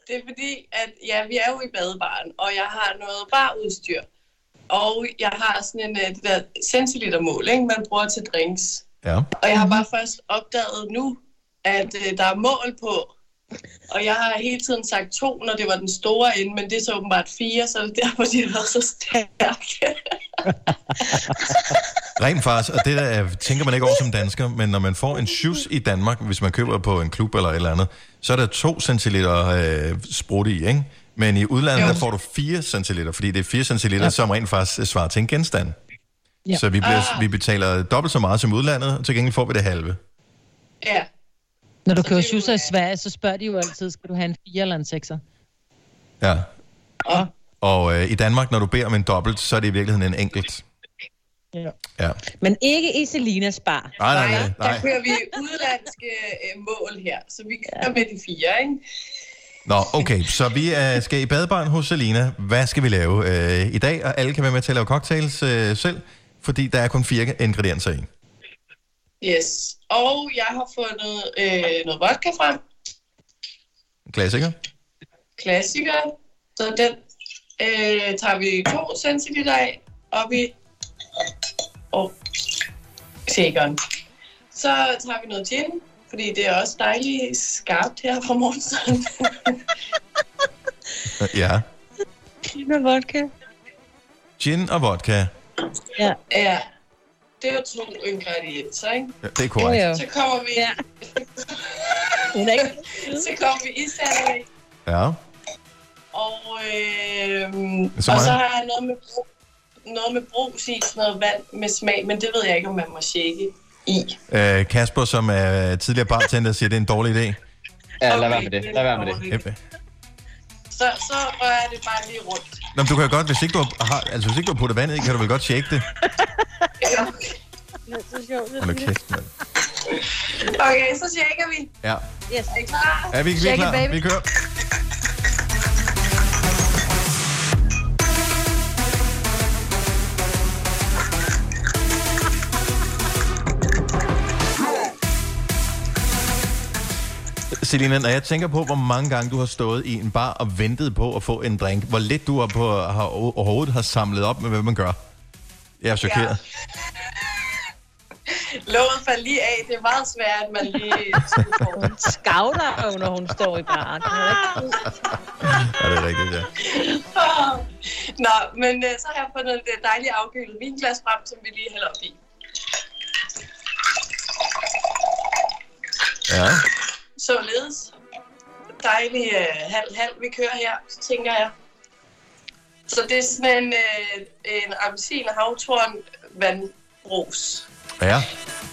S6: Det er fordi, at ja, vi er jo i badebaren, og jeg har noget barudstyr. Og jeg har sådan en, øh, det der centiliter mål, ikke, man bruger til drinks.
S2: Ja.
S6: Og jeg har bare først opdaget nu, at øh, der er mål på. Og jeg har hele tiden sagt to, når det var den store ende, men det er så åbenbart fire, så det er derfor, de har været så stærke.
S2: Rent faktisk, og det der, øh, tænker man ikke over som dansker, men når man får en shoes i Danmark, hvis man køber på en klub eller et eller andet, så er der 2 centiliter øh, sprut i, ikke? Men i udlandet, jo. der får du 4 centiliter, fordi det er 4 centiliter, ja. som rent faktisk øh, svarer til en genstand. Ja. Så vi, bliver, ah. vi betaler dobbelt så meget som udlandet, og til gengæld får vi det halve.
S6: Ja.
S3: Når du kører shoes i Sverige, så spørger de jo altid, skal du have en 4 eller en 6'er?
S2: Ja. Og øh, i Danmark, når du beder om en dobbelt, så er det i virkeligheden en enkelt.
S3: Ja.
S2: Ja.
S4: Men ikke i Selinas bar.
S2: Nej, nej, nej.
S6: Der
S2: nej.
S6: kører vi udlandske øh, mål her, så vi kører ja. med de fire, ikke?
S2: Nå, okay, så vi øh, skal i badebaren hos Selina. Hvad skal vi lave øh, i dag? Og alle kan være med til at lave cocktails øh, selv, fordi der er kun fire ingredienser i.
S6: Yes. Og jeg har fundet øh, noget vodka frem.
S2: Klassiker.
S6: Klassiker. Så den øh, tager vi to centiliter af op i og shakeren. Så tager vi noget gin, fordi det er også dejligt skarpt her fra morgenstunden.
S2: Øh, Ja.
S6: Gin og vodka.
S2: Gin og vodka.
S6: Ja. ja. Det er jo to ingredienser, ikke?
S2: Ja, det er korrekt. Jo, jo.
S6: Så kommer vi... Ja. så kommer vi i salg,
S2: Ja.
S6: og, øh,
S2: Så
S6: og
S2: meget.
S6: så har jeg noget med, brug, noget med brus i, sådan noget vand med smag, men det ved jeg ikke, om man må shake.
S2: Øh, Kasper, som er tidligere bartender, siger, at det er en dårlig idé.
S10: Ja, lad være med det. Lad være med det.
S2: Yep.
S6: Så, så rører jeg det bare lige rundt.
S2: Nå, men du kan jo godt, hvis ikke du har- har, altså, hvis ikke du har puttet vandet i, kan du vel godt shake det.
S6: Det er så sjovt.
S2: Hold nu kæft, mand.
S6: Okay, så shaker vi.
S2: Ja.
S6: Yes. Er I klar?
S2: Er vi, vi er klar? Vi kører. Selina, når jeg tænker på, hvor mange gange du har stået i en bar og ventet på at få en drink, hvor lidt du har på, har, overhovedet har samlet op med, hvad man gør. Jeg er chokeret. Ja.
S6: Låget faldt lige af. Det er meget svært, at man lige...
S4: Hun skavler, når hun står i baren. Det er jo ikke-
S2: Ja, det er rigtigt, ja.
S6: Nå, men øh, så har jeg fundet det dejlige afkølet vinglas frem, som vi lige hælder op i.
S2: ja.
S6: Således. Dejlig øh, halv-halv, vi kører her, så tænker jeg. Så det er sådan en, øh, en appelsin og havtorn vandbrus.
S2: Ja,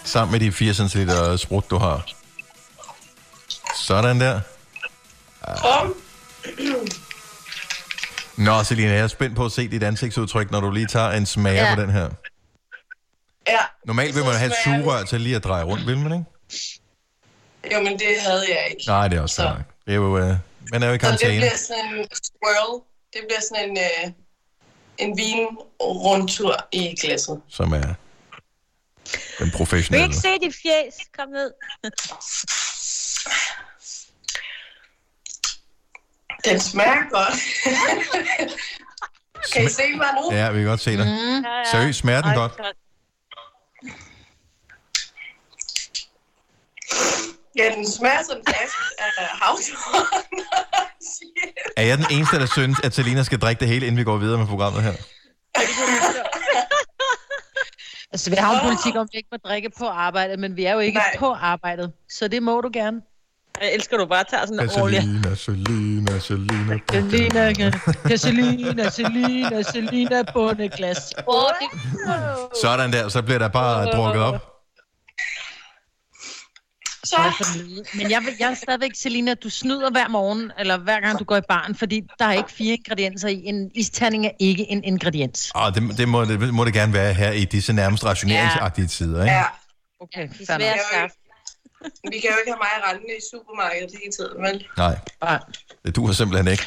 S2: sammen med de 4 cm sprut, du har. Sådan der.
S6: Kom.
S2: Nå, Selina, jeg er spændt på at se dit ansigtsudtryk, når du lige tager en smager
S6: Ja.
S2: ja. på den her.
S6: ja.
S2: Normalt vil man have et sugerør til lige at dreje rundt, vil man ikke?
S6: Jo, men det havde jeg ikke.
S2: Nej, det er også fair nok. Det er jo, øh, man er jo i
S6: Så det
S2: karantæne.
S6: bliver sådan en swirl. Det bliver sådan en, øh, en vinrundtur i glasset.
S2: Som er den
S4: Vi kan
S2: professionelle.
S4: ikke se dit fjes. Kom ned.
S6: Den smager godt. kan I se mig nu?
S2: Ja, vi kan godt se dig. Mm. Seriøst, smager den
S6: Ej,
S2: godt?
S6: Ja, den smager som flaske af havtorn.
S2: Er jeg den eneste, der synes, at Selina skal drikke det hele, inden vi går videre med programmet her?
S3: Altså, vi har jo en politik om, at vi ikke må drikke på arbejdet, men vi er jo ikke Nej. på arbejdet. Så det må du gerne.
S4: Jeg elsker, at du bare tager
S2: Altså-
S4: sådan en årlig...
S11: Selina, Selina, Selina.
S3: Selina, Selina, Selina, Selina, bundeglas.
S4: Åh, det...
S2: Sådan der, så bliver der bare drukket op.
S6: Så...
S3: Men jeg, vil- jeg er stadigvæk, Selina, du snyder hver morgen, eller hver gang du går i baren, fordi der er ikke fire ingredienser i. En isterning er ikke en ingrediens.
S2: Og Ah, det, det, må, det må det gerne være her i disse nærmest rationeringsagtige tider, ikke?
S6: Ja.
S3: Okay,
S6: de
S3: fair nok.
S6: svære skaffe. Vi kan jo ikke have mig rendende i supermarkedet hele tiden, vel?
S2: Nej. Det duer simpelthen ikke.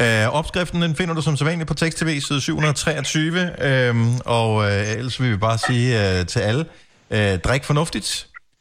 S2: Øh, opskriften den finder du som sædvanligt på tekst-tv, side 723. Øh, og øh, ellers vil vi bare sige øh, til alle, øh, drik fornuftigt.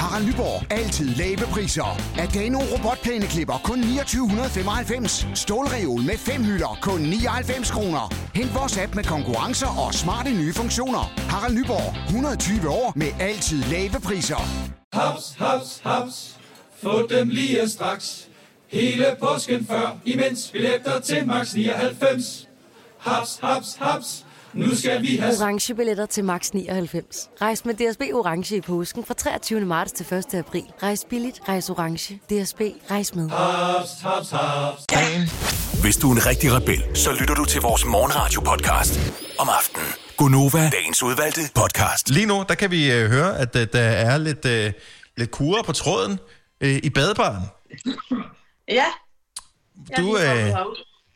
S12: Harald Nyborg. Altid lave priser. Adano robotplæneklipper kun 2995. Stålreol med fem hylder kun 99 kroner. Hent vores app med konkurrencer og smarte nye funktioner. Harald Nyborg. 120 år med altid lave priser.
S13: Haps, haps, haps. Få dem lige straks. Hele påsken før, imens billetter til max 99. Haps, haps, haps. Nu skal vi have
S8: orange billetter til max 99. Rejs med DSB orange i påsken fra 23. marts til 1. april. Rejs billigt, rejs orange. DSB rejs med.
S13: haps, haps, haps.
S1: Hvis du er en rigtig rebel, så lytter du til vores morgenradio-podcast om aftenen. Gunova, dagens udvalgte podcast.
S2: Lige nu, der kan vi øh, høre, at øh, der er lidt, øh, lidt kurer på tråden øh, i badebaren.
S6: Ja.
S2: Du, øh,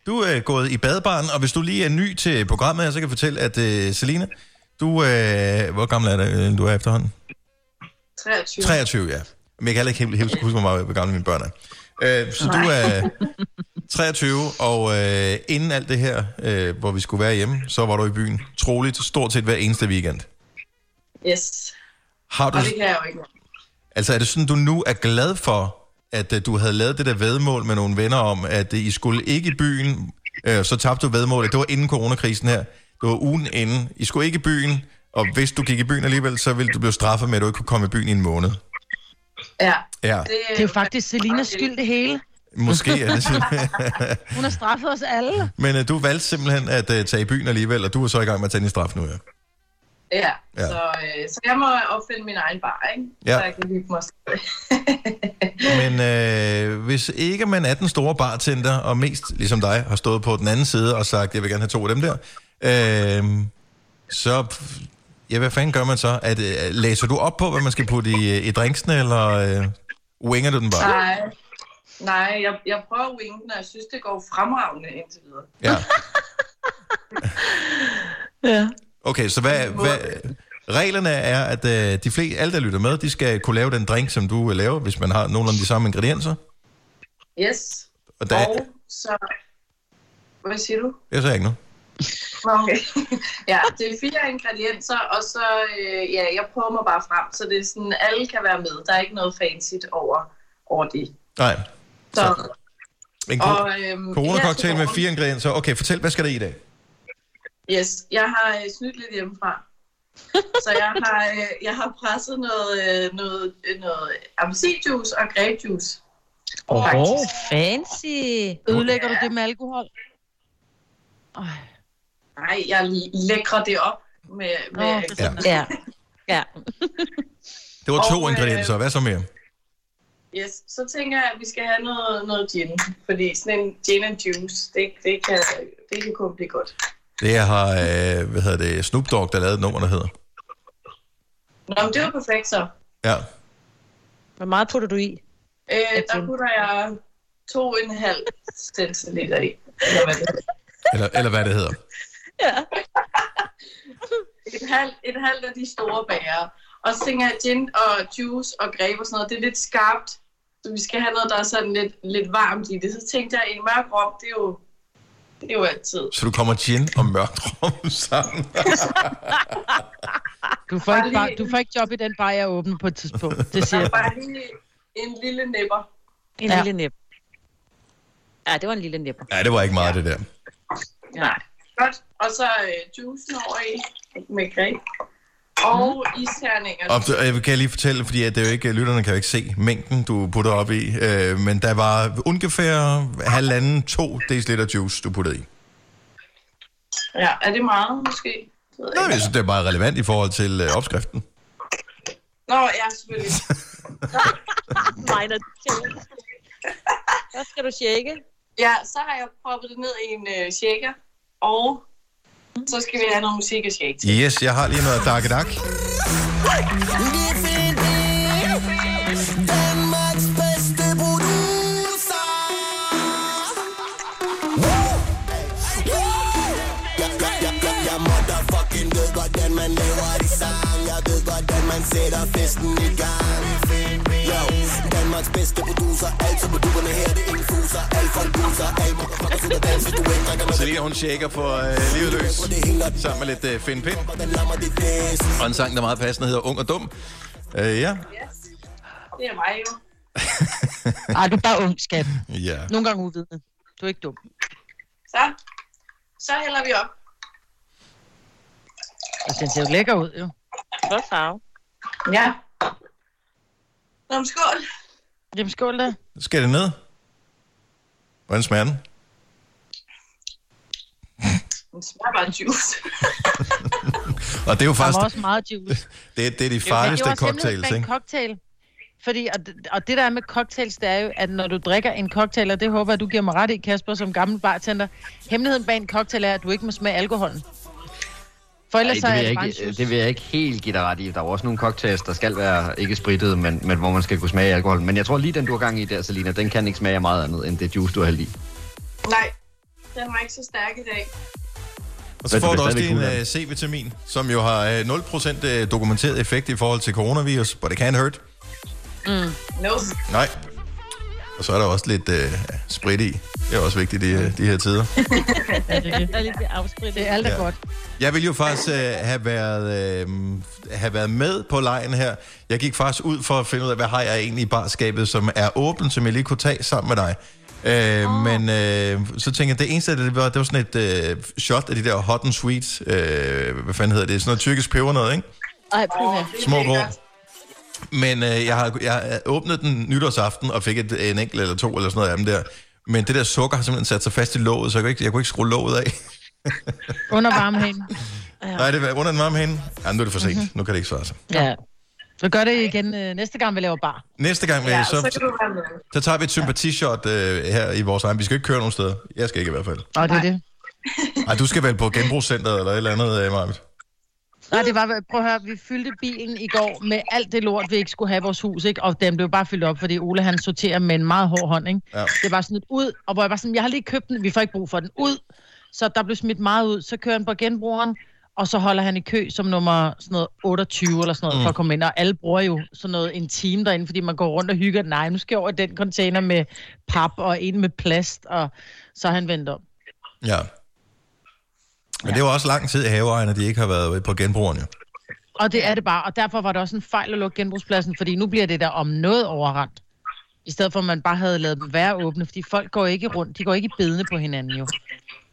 S2: du er gået i badebaren, og hvis du lige er ny til programmet her, så kan jeg fortælle, at øh, Selina, du øh, Hvor gammel er det, øh, du er efterhånden?
S6: 23.
S2: 23, ja. Men jeg kan heller ikke helt, helt huske, hvor meget hvor gamle mine børn er. Øh, så du er 23, og øh, inden alt det her, øh, hvor vi skulle være hjemme, så var du i byen troligt stort set hver eneste weekend.
S6: Yes.
S2: Har du,
S6: Og det kan jeg jo ikke.
S2: altså er det sådan, du nu er glad for, at øh, du havde lavet det der vedmål med nogle venner om, at øh, I skulle ikke i byen, øh, så tabte du vedmålet. Det var inden coronakrisen her. Det var ugen inden. I skulle ikke i byen, og hvis du gik i byen alligevel, så ville du blive straffet med, at du ikke kunne komme i byen i en måned.
S6: Ja.
S2: Ja.
S6: Det, øh,
S3: det er jo faktisk Selinas skyld, det hele.
S2: Måske er det sådan.
S3: Hun har straffet os alle.
S2: Men øh, du valgte simpelthen at øh, tage i byen alligevel, og du er så i gang med at tage din straf nu, ja.
S6: Ja,
S2: Ja.
S6: ja. Så, øh, så jeg må opfinde min egen bar, ikke?
S2: Ja.
S6: Så jeg kan hygge mig. selv.
S2: Men øh, hvis ikke man er den store bartender, og mest ligesom dig, har stået på den anden side og sagt, jeg vil gerne have to af dem der, øh, så, ja, hvad fanden gør man så? At, øh, læser du op på, hvad man skal putte i, øh, i drinksene, eller øh, winger du den bare?
S6: Nej. Nej, jeg, jeg prøver at winke den, og jeg synes, det går fremragende indtil videre.
S2: Ja.
S3: ja.
S2: Okay, så hvad, hvad, reglerne er, at øh, de fleste, alle der lytter med, de skal kunne lave den drink, som du øh, laver, hvis man har nogenlunde de samme ingredienser.
S6: Yes.
S2: Og der,
S6: Og så... Hvad siger du?
S2: jeg sagde ikke noget.
S6: Nå, Okay. ja, det er fire ingredienser, og så... Øh, ja, jeg prøver mig bare frem, så det er sådan, alle kan være med. Der er ikke noget fancy over, over det.
S2: Nej.
S6: Så,
S2: En ko-
S6: Og, øhm,
S2: corona-cocktail
S6: her
S2: med
S6: til
S2: fire ingredienser. Okay, fortæl, hvad skal der i i dag?
S6: Yes, jeg har øh, snydt lidt hjemmefra. Så jeg har, øh, jeg har presset noget, øh, noget, øh, noget appelsinjuice og grapejuice.
S3: Åh,
S6: Faktisk.
S3: fancy. Ødelægger du det med alkohol?
S6: Nej, jeg lækrer det op med... med
S3: Nå, det er sådan, Ja. Ja.
S2: Det var to
S6: Og, øh,
S2: ingredienser. Hvad så mere?
S6: Yes, så tænker jeg, at vi skal have noget, noget gin. Fordi sådan en gin and juice, det, det, kan, det kan kun blive godt.
S2: Det har, øh, hvad hedder det, Snoop Dogg, der lavede et nummer, der hedder.
S6: Nå, men det var perfekt så.
S2: Ja.
S4: Hvor meget putter du i?
S6: Øh, der putter jeg to og en halv centiliter i.
S2: Eller, eller hvad det hedder.
S6: Ja. et, halvt, et halvt af de store bager. Og så tænker jeg, gin og juice og greb og sådan noget, det er lidt skarpt. Så vi skal have noget, der er sådan lidt, lidt varmt i det. Så tænkte jeg, en mørk rom, det er jo, det er jo altid.
S2: Så du kommer gin og mørkt rum sammen.
S3: Du får, ikke bar, du får ikke job i den bar, jeg åbner på et tidspunkt. Det siger
S6: Der er
S3: jeg.
S6: bare lige en lille nipper.
S4: En
S3: Ja.
S4: ja. lille næb. Ja, det var en lille næpper.
S2: Nej, det var ikke meget, det der.
S6: Nej. Godt. Og så øh, juicen over i med greb. Og isterninger.
S2: Og så- jeg kan lige fortælle, fordi at det er jo ikke, lytterne kan jo ikke se mængden, du putter op i, øh, men der var ungefær halvanden, to deciliter juice, du puttede i.
S6: Ja, er det meget måske? Det ved jeg
S2: Nej,
S6: ikke.
S2: jeg synes, det er bare relevant i forhold til øh, opskriften.
S6: Nå, ja, selvfølgelig.
S4: Minor Så skal du shake.
S6: Ja, så har jeg proppet det ned i en øh, shaker, og så skal vi have noget musik og shake.
S2: Yes, jeg har lige noget dak dak.
S14: Danmarks bedste producer. Woo! Woo! Jeg, jeg, jeg, jeg, jeg motherfucking ved hvordan man laver de sang Jeg ved hvordan man sætter festen i gang Yo, Danmarks bedste producer Altid på dupperne her, det infuser Alt for en buser, alt motherfucker super danser Du ikke drikker med
S2: Selina, hun shaker for øh, livet løs, sammen med lidt øh, Finn Pind. Og en sang, der er meget passende, hedder Ung og Dum. Øh, ja.
S6: Det er mig jo.
S3: Ej, du er bare ung, skat.
S2: ja.
S3: Nogle gange uvidende. Du er ikke dum.
S6: Så, så hælder vi op.
S3: Altså, den ser jo lækker ud, jo.
S4: Flot farve.
S6: Ja. Nå, men skål.
S3: Jamen, skål da.
S2: Skal det ned? Hvordan smager den?
S6: Den smager bare af juice.
S2: Og det er jo
S3: Der
S2: faktisk...
S3: var også meget juice.
S2: Det, det er de
S3: Det er jo-
S2: farligste
S3: det er jo også hemmeligheden
S2: cocktails,
S3: med en
S2: ikke?
S3: cocktail. Fordi, og, det- og det der er med cocktails, det er jo, at når du drikker en cocktail, og det håber jeg, du giver mig ret i, Kasper, som gammel bartender, hemmeligheden bag en cocktail er, at du ikke må smage alkoholen. For ellers så
S7: Ej,
S3: er
S7: det,
S3: det
S7: vil
S3: bare en
S7: jeg ikke, øh,
S3: juice.
S7: det vil jeg ikke helt give dig ret i. Der er jo også nogle cocktails, der skal være ikke sprittede, men, men hvor man skal kunne smage alkohol. Men jeg tror lige den, du har gang i der, Selina, den kan ikke smage af meget andet end det juice, du har hældt i.
S6: Nej, den var ikke så stærk i dag.
S2: Og
S7: Men
S2: så
S7: det
S2: får
S7: er
S2: du også
S7: stadigvæk
S2: din
S7: cool,
S2: øh, C-vitamin, som jo har øh, 0% øh, dokumenteret effekt i forhold til coronavirus, but it can't hurt.
S6: Mm. No.
S2: Nej. Og så er der også lidt øh, sprit i. Det er også vigtigt i øh, de her tider.
S4: det er lidt afsprit.
S3: Det er alt er
S2: Ja.
S3: godt.
S2: Jeg ville jo faktisk øh, have, været, øh, have været med på lejen her. Jeg gik faktisk ud for at finde ud af, hvad har jeg egentlig i barskabet, som er åbent, som jeg lige kunne tage sammen med dig. Øh, oh. Men øh, så tænkte jeg, det eneste, det var, det var sådan et øh, shot af de der hot and sweet, øh, hvad fanden hedder det, sådan noget tyrkisk peber noget, ikke?
S4: Ej, puha.
S2: Små grå. Men øh, jeg har jeg har åbnet den nytårsaften og fik et, en enkelt eller to eller sådan noget af dem der. Men det der sukker har simpelthen sat sig fast i låget, så jeg kunne ikke, jeg kunne ikke skrue låget af.
S3: Under varmehænden.
S2: Ja. Nej, det var under den varme hende. Ja, nu er det for sent. Mm-hmm. Nu kan det ikke svare sig.
S3: Ja. Så gør det igen øh, næste gang, vi laver bar.
S2: Næste gang, ja, så, så,
S6: du være med.
S2: så tager vi et sympatishot øh, her i vores egen. Vi skal ikke køre nogen steder. Jeg skal ikke i hvert fald.
S3: Og det er det.
S2: Ej, du skal vel på genbrugscenteret eller et eller andet, øh, Marvitt.
S3: Nej, det var, prøv at høre, vi fyldte bilen i går med alt det lort, vi ikke skulle have i vores hus, ikke? Og den blev bare fyldt op, fordi Ole han sorterer med en meget hård hånd, ikke?
S2: Ja.
S3: Det var sådan et ud, og hvor jeg var sådan, jeg har lige købt den, vi får ikke brug for den, ud. Så der blev smidt meget ud, så kører han på genbrugeren, og så holder han i kø som nummer sådan noget 28 eller sådan noget,
S15: Mm.
S3: mm. for at komme ind. Og alle bruger jo sådan noget en time derinde, fordi man går rundt og hygger. Nej, nu skal jeg over i den container med pap og en med plast, og så har han vendt om.
S2: Ja. Men ja. det var også lang tid, haveejerne de ikke har været på genbrugerne. jo.
S3: Og det er det bare, og derfor var det også en fejl at lukke genbrugspladsen, fordi nu bliver det der om noget overrendt. I stedet for, at man bare havde lavet dem være åbne, fordi folk går ikke rundt, de går ikke i bedene på hinanden jo.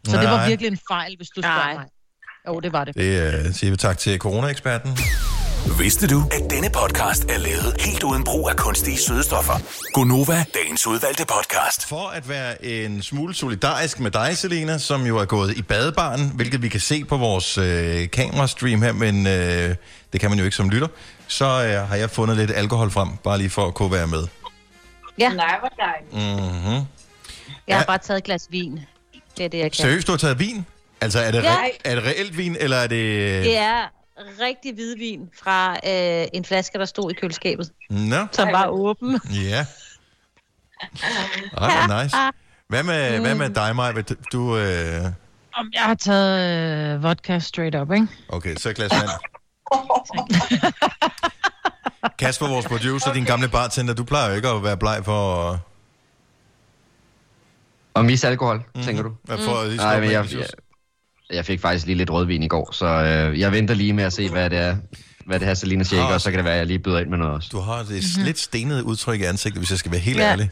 S3: Så Nej. det var
S2: Nej.
S3: virkelig en fejl, hvis du spørger mig. Jo, det var det.
S2: Det øh, siger vi tak til coronaeksperten.
S1: Vidste du, at denne podcast er lavet helt uden brug af kunstige sødestoffer?
S2: Gonova,
S1: Dagens udvalgte podcast.
S2: For at være en smule solidarisk med dig, Selena, som jo er gået i badebaren, hvilket vi kan se på vores øh, kamerastream her, men øh, det kan man jo ikke som lytter, så øh, har jeg fundet lidt alkohol frem, bare lige for at kunne være med.
S4: Ja. Nej, hvor dejligt.
S2: Mm-hmm.
S4: Jeg har bare taget et glas vin. Det er det, jeg kan.
S2: Seriøst, du har taget vin? Altså, er det,
S4: Ja.
S2: re- er det reelt vin, eller er det... øh,
S4: Det er rigtig hvidvin fra øh, en flaske, der stod i køleskabet,
S2: Nå,
S4: som var åben.
S2: ja. Ej, hvor nice. Hvad med, mm. hvad med dig, Maja? Du, øh,
S3: Om jeg har taget øh, vodka straight up, ikke?
S2: okay, så et glas vand. Kasper, vores producer, din gamle bartender, du plejer jo ikke at være bleg for... at-
S7: Og mis alkohol, mm. tænker du?
S2: Ja, for at lige
S7: Nej,
S2: stoppe
S7: men
S2: med
S7: jeg,
S2: det,
S7: jeg,
S2: synes.
S7: jeg fik faktisk lige lidt rødvin i går, så øh, jeg venter lige med at se, hvad det er, hvad det her Selina shaker,
S2: Ah.
S7: og så kan det være, at jeg lige byder ind med noget også.
S2: Du har det Mhm. lidt stenet udtryk i ansigtet, hvis jeg skal være helt
S7: Ja.
S2: ærlig.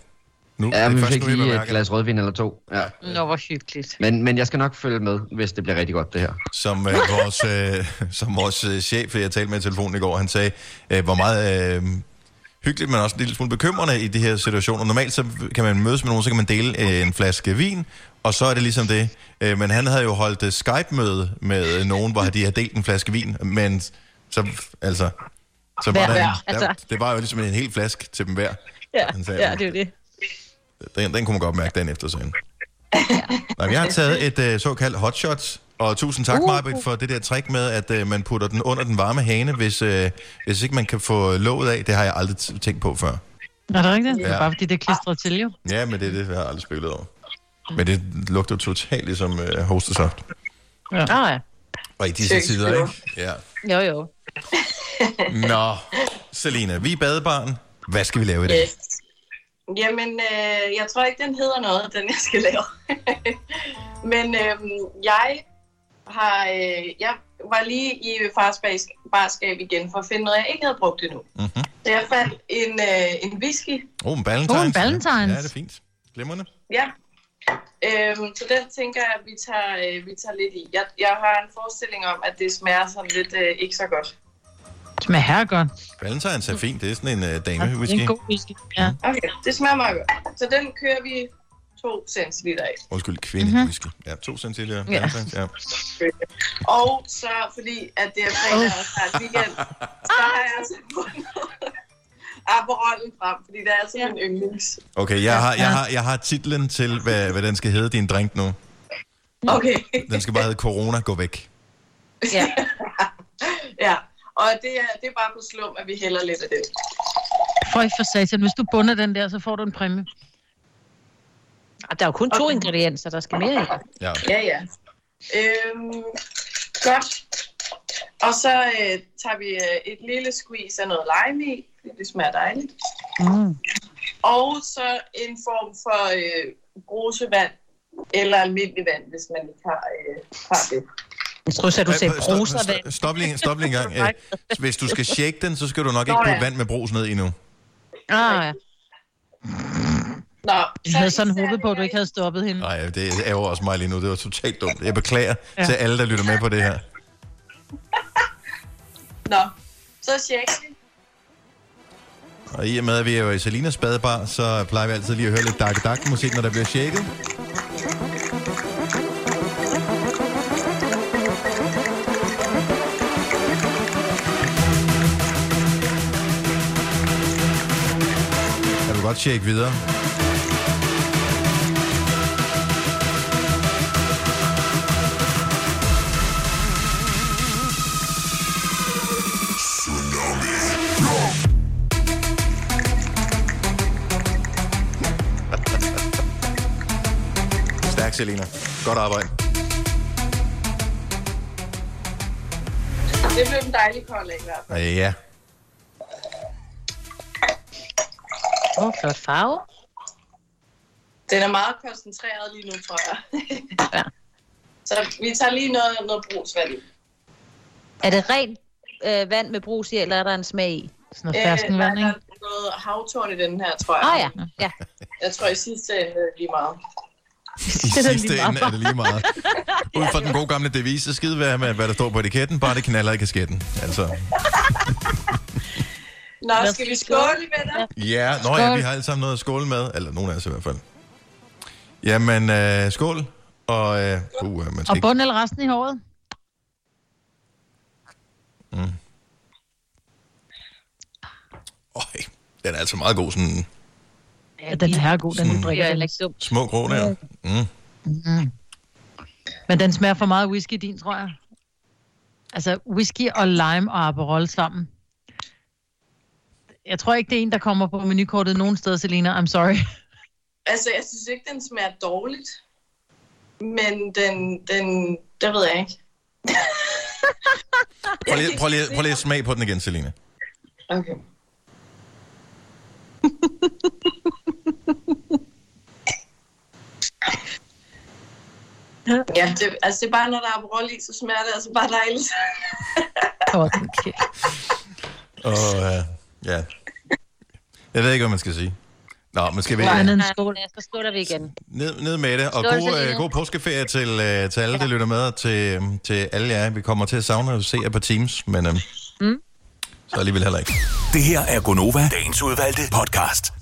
S2: Nu,
S7: Ja, men vi
S2: først
S7: fik
S2: nu, jeg
S7: lige et
S2: bemærker
S7: glas rødvin eller to. Ja.
S3: Nå, hvor hyggeligt.
S7: Men, men jeg skal nok følge med, hvis det bliver rigtig godt, det her.
S2: Som, øh, vores, øh, som vores øh, chef, jeg talte med i telefonen i går, han sagde, øh, hvor meget øh, hyggeligt, men også en lille smule bekymrende i de her situationer. Normalt så kan man mødes med nogen, så kan man dele øh, en flaske vin, og så er det ligesom det. Øh, men han havde jo holdt øh, Skype-møde med øh, nogen, hvor de havde delt en flaske vin, men så, altså, så var der,
S4: Hver,
S2: en,
S4: hver,
S2: der,
S4: altså.
S2: det var jo ligesom en hel flaske til dem hver.
S4: Ja,
S2: Han sagde,
S4: ja det er jo det.
S2: Den, den kunne man godt mærke den efter scenen. Nej, men jeg har taget et øh, såkaldt hotshot, og tusind tak, uh.
S15: Uh.
S2: Marbet, for det der trick med, at øh, man putter den under den varme hane, hvis, øh, hvis ikke man kan få låget af. Det har jeg aldrig t- tænkt på før.
S3: Er det rigtigt?
S2: Ja.
S3: Ja. Det er bare fordi, det er klistret til, jo.
S2: Ja, men det er det, jeg har aldrig spillet over. Men det lugter jo totalt ligesom øh, hostesaft.
S3: Ja. Ah, ja.
S2: Og i disse
S3: Seriøst,
S2: tider,
S3: jo.
S2: ikke? Ja.
S3: Jo, jo.
S2: Nå, Selina, vi er badebarn. Hvad skal vi lave i dag?
S6: Yes. Jamen, øh, jeg tror ikke, den hedder noget, den jeg skal lave. Men øh, jeg har, øh, jeg var lige i farsbas- barskab igen for at finde noget, jeg ikke havde brugt endnu.
S2: Mhm.
S6: Så jeg fandt en, øh, en whisky,
S2: Oh, en valentines.
S6: Oh, en valentines.
S2: Ja, det er fint. Glimrende.
S6: Ja. Øhm, så den tænker jeg, at vi tager, øh, vi tager lidt i. Jeg, jeg har en forestilling om, at det smager sådan lidt øh, ikke så godt.
S3: Smager her godt.
S2: Valentines er fint. Det er sådan en øh,
S3: Ja, det
S2: dame-whisky.
S3: er en god whisky. Ja.
S6: Okay, det smager meget godt. Så den kører vi 2 centiliter af.
S2: Undskyld, kvinde-whisky. Ja, to centiliter.
S6: Mhm. Ja.
S2: Valentines, ja.
S6: Og så, fordi at det er fredag og snart weekend, så har jeg altså fundet Aperollen frem, fordi det er altså min yndlings.
S2: Okay, jeg har, jeg, har, jeg har titlen til, hvad, hvad den skal hedde, din drink nu.
S6: Okay.
S2: Den skal bare hedde Corona, gå væk.
S6: Ja. ja. Og det er, det er bare på slum, at vi hælder lidt af det.
S3: For ikke for satan, hvis du bunder den der, så får du en præmie.
S4: Og der er jo kun to okay. ingredienser, der skal mere i.
S2: Ja.
S6: Ja, ja. Øhm, godt. Og så øh, tager vi øh, et lille squeeze af noget lime i, fordi det smager dejligt.
S3: Mm.
S6: Og så en form for øh, brusevand, eller almindelig vand, hvis man ikke har, øh, har det.
S4: Jeg tror, så du
S2: Øh,
S4: sagde
S2: stop-
S4: bruservand.
S2: stop- Stop lige, stop lige en gang. Øh, Hvis du skal shake den, så skal du nok
S6: Nå,
S2: ikke putte
S6: ja.
S2: vand med brus ned endnu.
S3: Ah, ja.
S6: Nå,
S3: Jeg havde sådan håbet på, at du ikke havde stoppet hende.
S2: Nej, det ærger også mig lige nu. Det var totalt dumt. Jeg beklager ja.
S3: Ja.
S2: til alle, der lytter med på det her.
S6: Nå, så shaker vi.
S2: Og i og med, at vi er jo i Salinas badebar, så plejer vi altid lige at høre lidt dak dak musik når der bliver shaket. Jeg vil godt shake videre. Stærk, Selina. Godt arbejde.
S6: Det blev en dejlig kold af i hvert fald.
S2: Og Ja.
S4: Åh, oh, flot farve.
S6: Den er meget koncentreret lige nu, tror jeg. så vi tager lige noget, noget brusvand i.
S4: Er det rent øh, vand med brus i, eller er der en smag i?
S3: Sådan
S6: Øh, der er noget havtorn i den her, tror jeg.
S4: Åh oh, ja. ja.
S6: Jeg tror i sidste ende er det lige meget.
S2: I
S6: Det er da lige
S2: sidste
S6: meget.
S2: ende er det lige meget. Ud fra den gode gamle devise, skid hvad, med, hvad der står på etiketten, bare det knaller i kasketten. Altså,
S6: Nå, skal vi skåle, venner?
S2: ja, nå ja, vi har alle sammen noget at skåle med. Eller nogen af os i hvert fald. Jamen, øh, skål. Og, øh, uh, man skal
S3: Og
S2: ikke...
S3: bund eller resten i håret?
S2: Mm. Øj, den er altså meget god, sådan
S3: Ja, den er god, den du
S2: Sådan-
S3: drikker.
S2: Ja,
S3: den.
S2: små grå der. Mm.
S3: Mm. Men den smager for meget whisky din, tror jeg. Altså whisky og lime og Aperol sammen. Jeg tror ikke, det er en, der kommer på menukortet nogen steder, Selina. I'm sorry.
S6: Altså, jeg synes ikke, den smager dårligt. Men den, den, det ved jeg ikke.
S2: Prøv lige, prøv lige, prøv lige at smage på den igen, Selina.
S6: Okay. ja, det, altså det er bare, når der er brol i, så smager det altså bare dejligt.
S5: Okay.
S2: Og øh, ja. Jeg ved ikke, hvad man skal sige. Nå, men skal vi
S4: skål. Ja, så skåler vi igen.
S2: ned, ned med det, og
S4: Skål,
S2: god, øh,
S4: Selina.
S2: god påskeferie til, øh, til alle, der lytter med, og til, øh, til alle jer. Vi kommer til at savne at se jer på Teams, men øh, mm. så alligevel heller ikke.
S1: Det her er Gonova, dagens udvalgte podcast.